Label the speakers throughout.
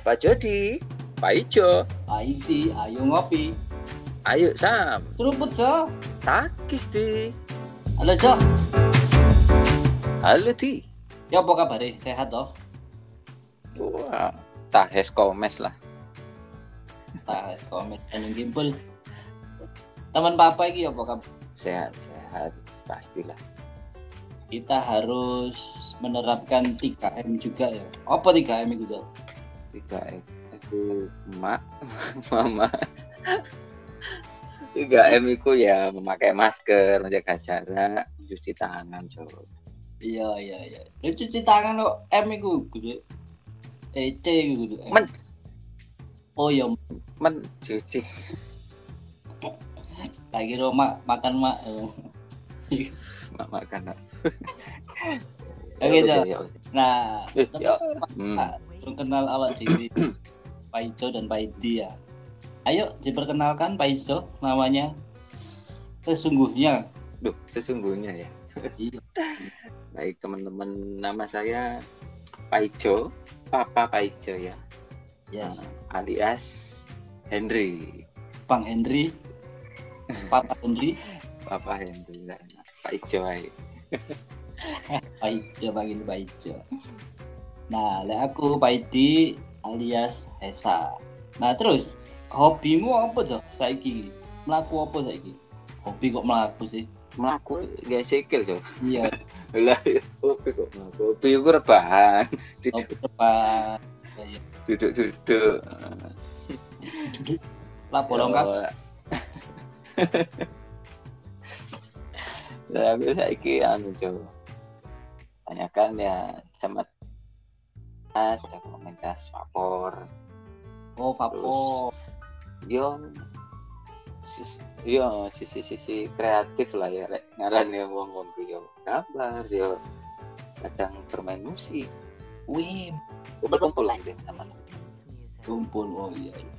Speaker 1: Pak Jody, Pak Ijo,
Speaker 2: Aiti, ayo ngopi.
Speaker 1: ayo Sam,
Speaker 2: Seruput, Jo.
Speaker 1: takis di.
Speaker 2: Halo, Jo.
Speaker 1: Halo di.
Speaker 2: Ya apa kabar? Sehat toh?
Speaker 1: Wah, tahes komes lah.
Speaker 2: Tah, wis komit eneng gimpul. Teman papa iki apa kabar?
Speaker 1: Sehat, sehat, pastilah.
Speaker 2: Kita harus menerapkan 3M juga ya. Apa 3M itu, Jo?
Speaker 1: Tiga M itu emak, mama. Tiga M itu ya memakai masker, menjaga jarak, cuci tangan, coba.
Speaker 2: Iya, iya, iya. Lu cuci tangan lo M iku, Gus. Eh, C iku, Gus. M.
Speaker 1: Men.
Speaker 2: Oh, ya
Speaker 1: Mencuci.
Speaker 2: lagi ro mak makan mak.
Speaker 1: Mak makan.
Speaker 2: Oke, Jo.
Speaker 1: Ya,
Speaker 2: Nah,
Speaker 1: Eh,
Speaker 2: tapi
Speaker 1: ya. Hmm.
Speaker 2: Pak, belum kenal awak dewi Pak Ijo dan Pak Idi ya ayo diperkenalkan Pak Ijo namanya sesungguhnya
Speaker 1: Duh, sesungguhnya ya.
Speaker 2: Iya.
Speaker 1: Baik teman-teman, nama saya Paijo, Papa Paijo ya, Nah,
Speaker 2: yes
Speaker 1: alias Henry,
Speaker 2: Bang Henry Papa Henry
Speaker 1: Papa Henry, lah enak. Paijo ae.
Speaker 2: Pak Ijo panggil Pak Ijo nah lek aku Pak Idi alias Hesa nah terus hobimu apa Jo saiki melaku apa saiki hobi kok melaku sih
Speaker 1: Melaku gak sikil cok.
Speaker 2: iya
Speaker 1: Lah, kopi kok melaku. Kopi ku rebahan,
Speaker 2: hobi apa Iya.
Speaker 1: duduk-duduk.
Speaker 2: lah bolong kan
Speaker 1: Yo. Lah aku saiki anu Cok. Banyakan ya cemet tas komunitas vapor
Speaker 2: oh vapor
Speaker 1: yo sis- yo sisi sisi kreatif lah ya rek ngaran ya wong wong ku yo gambar yo kadang bermain musik
Speaker 2: Wih,
Speaker 1: kumpul-kumpulan deh teman
Speaker 2: kumpul oh iya. iya.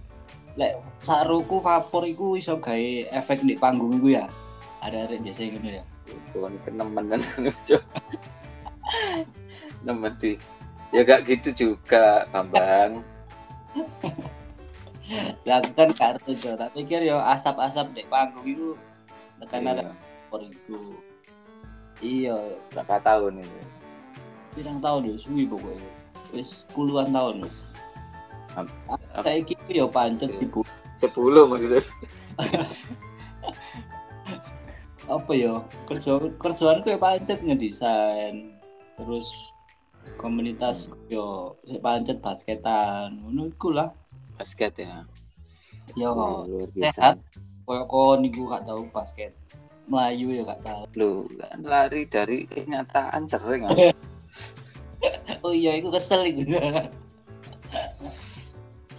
Speaker 2: Lek saruku vapor iku iso gawe efek di panggung iku ya. Ada ada biasa ngono ya.
Speaker 1: Bukan kenemenan Cok. kan, Nemen di. Ya gak gitu juga, Bambang.
Speaker 2: Lah aku kan kartu jo, tak pikir yo asap-asap di panggung iku tekan ada
Speaker 1: Iya,
Speaker 2: vapor iku. Iya,
Speaker 1: berapa tahun ini?
Speaker 2: pirang tahun yo suwi pokoknya. Wis puluhan Ah, tahun wis.
Speaker 1: Am- Iya. am-
Speaker 2: Saya iki yo ya pancet sibuk
Speaker 1: Sepuluh maksudnya.
Speaker 2: apa yo kerja kerjaanku ya pancet ngedesain terus komunitas yo sik pancet basketan ngono iku lah
Speaker 1: Basket ya.
Speaker 2: yo
Speaker 1: Wah, luar
Speaker 2: sehat. koyo kon iku gak tau basket Melayu ya gak tau
Speaker 1: Lu kan lari dari kenyataan sering. ah.
Speaker 2: oh iya iku kesel iku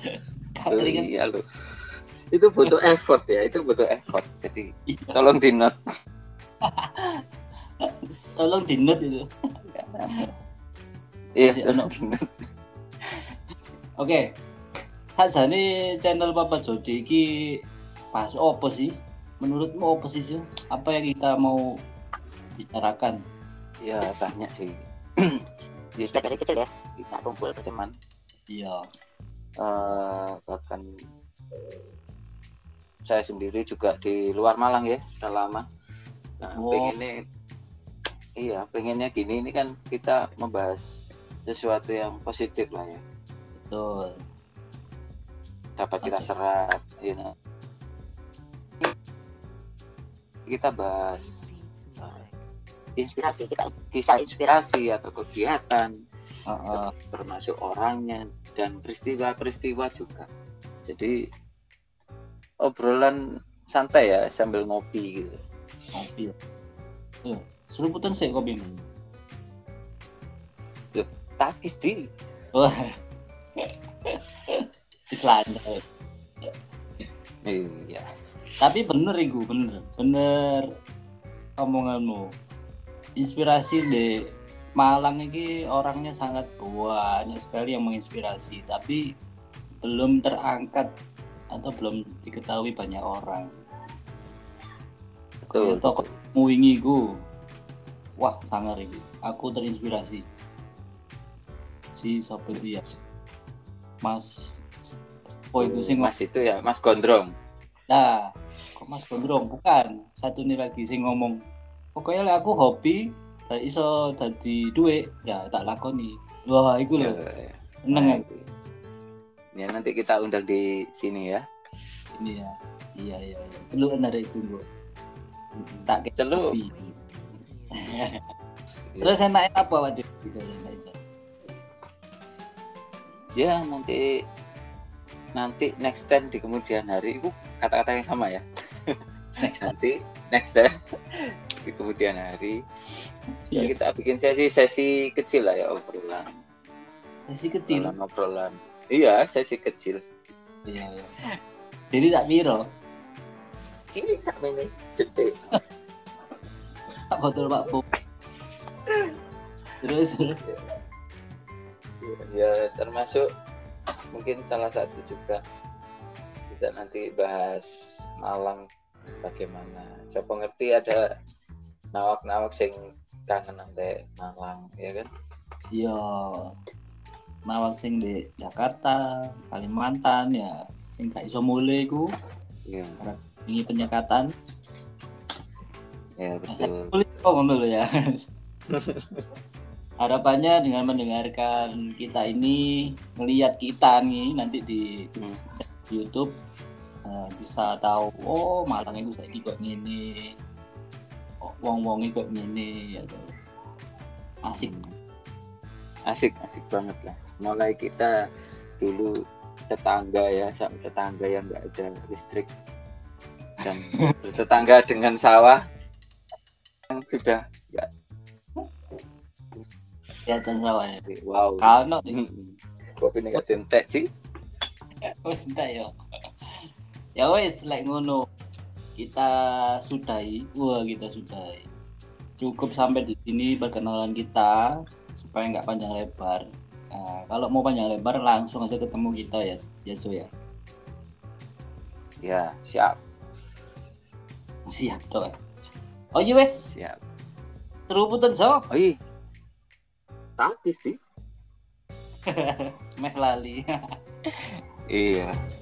Speaker 1: Lu,
Speaker 2: katringan
Speaker 1: iya lu. Itu butuh effort ya, itu butuh effort. Jadi tolong di note.
Speaker 2: tolong di note itu
Speaker 1: Iya,
Speaker 2: Masih
Speaker 1: tolong di note.
Speaker 2: oke sajane channel Papa Jody iki pas opo sih menurutmu opo sih Sil? apa yang kita mau bicarakan
Speaker 1: Ya banyak sih. Ya sudah dari kecil ya kita kumpul teman.
Speaker 2: Iya,
Speaker 1: eh bahkan eh, saya sendiri juga di luar Malang ya sudah lama nah,
Speaker 2: Wow.
Speaker 1: pengennya iya pengennya gini ini kan kita membahas sesuatu yang positif lah ya
Speaker 2: betul.
Speaker 1: dapat kita
Speaker 2: Oke.
Speaker 1: serap you know. kita bahas uh, inspirasi kita kisah inspirasi atau kegiatan eh,
Speaker 2: Heeh.
Speaker 1: termasuk orangnya dan peristiwa-peristiwa juga. Jadi obrolan santai ya sambil ngopi gitu.
Speaker 2: Kopi. Tuh, seruputan sih kopi ini.
Speaker 1: Takis di.
Speaker 2: Wah. Islandai.
Speaker 1: Iya.
Speaker 2: Tapi bener iku, bener. Bener omonganmu. Inspirasi di Malang ini orangnya sangat banyak sekali yang menginspirasi, tapi belum terangkat atau belum diketahui banyak orang.
Speaker 1: Betul.
Speaker 2: Iya, toko. Muwingi iku. Wah, sangar iku. Aku terinspirasi. Si sobat ya. Mas Oh itu sing
Speaker 1: Mas itu ya Mas Gondrong
Speaker 2: Nah, kok Mas Gondrong bukan. Satu nih lagi sing ngomong. Pokoknya lek aku hobi tak iso dadi duit, ya tak lakoni. Wah, iku
Speaker 1: ya,
Speaker 2: lho.
Speaker 1: ya.
Speaker 2: Seneng aku
Speaker 1: ya nanti kita undang di sini ya
Speaker 2: ini ya. Iya, iya, iya. Celuk dari iku, Bu. Tak kayak
Speaker 1: Celuk.
Speaker 2: hobi. Terus enak apa waduh gitu enak itu.
Speaker 1: ya nanti nanti next time di kemudian hari itu kata-kata yang sama ya
Speaker 2: Next.
Speaker 1: nanti next time di kemudian hari ya
Speaker 2: Iya.
Speaker 1: kita bikin sesi-sesi kecil lah ya obrolan
Speaker 2: Masih kecil.
Speaker 1: obrolan obrolan iya sesi kecil
Speaker 2: Iya, iya. Jadi tak piro,
Speaker 1: cilik sama ini cetek
Speaker 2: tak botol Pak Bu. Terus terus.
Speaker 1: ya termasuk mungkin salah satu juga kita nanti bahas Malang bagaimana siapa ngerti ada nawak-nawak sing kangen sampai Malang ya kan
Speaker 2: Iya. Mawang sing di Jakarta, Kalimantan ya. Sing gak iso mulai ku,
Speaker 1: iya
Speaker 2: ini penyekatan.
Speaker 1: ya
Speaker 2: Masa
Speaker 1: betul
Speaker 2: kulit kok ngono lho ya. Harapannya dengan mendengarkan kita ini, melihat kita nih nanti di
Speaker 1: Hmm.
Speaker 2: di YouTube eh, bisa tahu oh Malang itu saiki kok ngene. Oh, Wong-wonge kok ngene ya toh. Asik.
Speaker 1: Hmm. asik asik banget lah mulai kita dulu tetangga ya sama tetangga yang nggak ada listrik dan bertetangga dengan sawah yang sudah
Speaker 2: Kelihatan sawahnya.
Speaker 1: wow
Speaker 2: Kalau
Speaker 1: Mm-mm. kopi ini nggak tentek sih
Speaker 2: wes entek ya ya wes like ngono kita sudahi wah kita sudahi cukup sampai di sini perkenalan kita supaya nggak panjang lebar Nah, kalau mau panjang lebar langsung aja ketemu kita ya ya Jo ya
Speaker 1: ya siap
Speaker 2: siap toh oh iya wes
Speaker 1: siap
Speaker 2: teruputan so
Speaker 1: oh iya taktis sih
Speaker 2: meh lali
Speaker 1: iya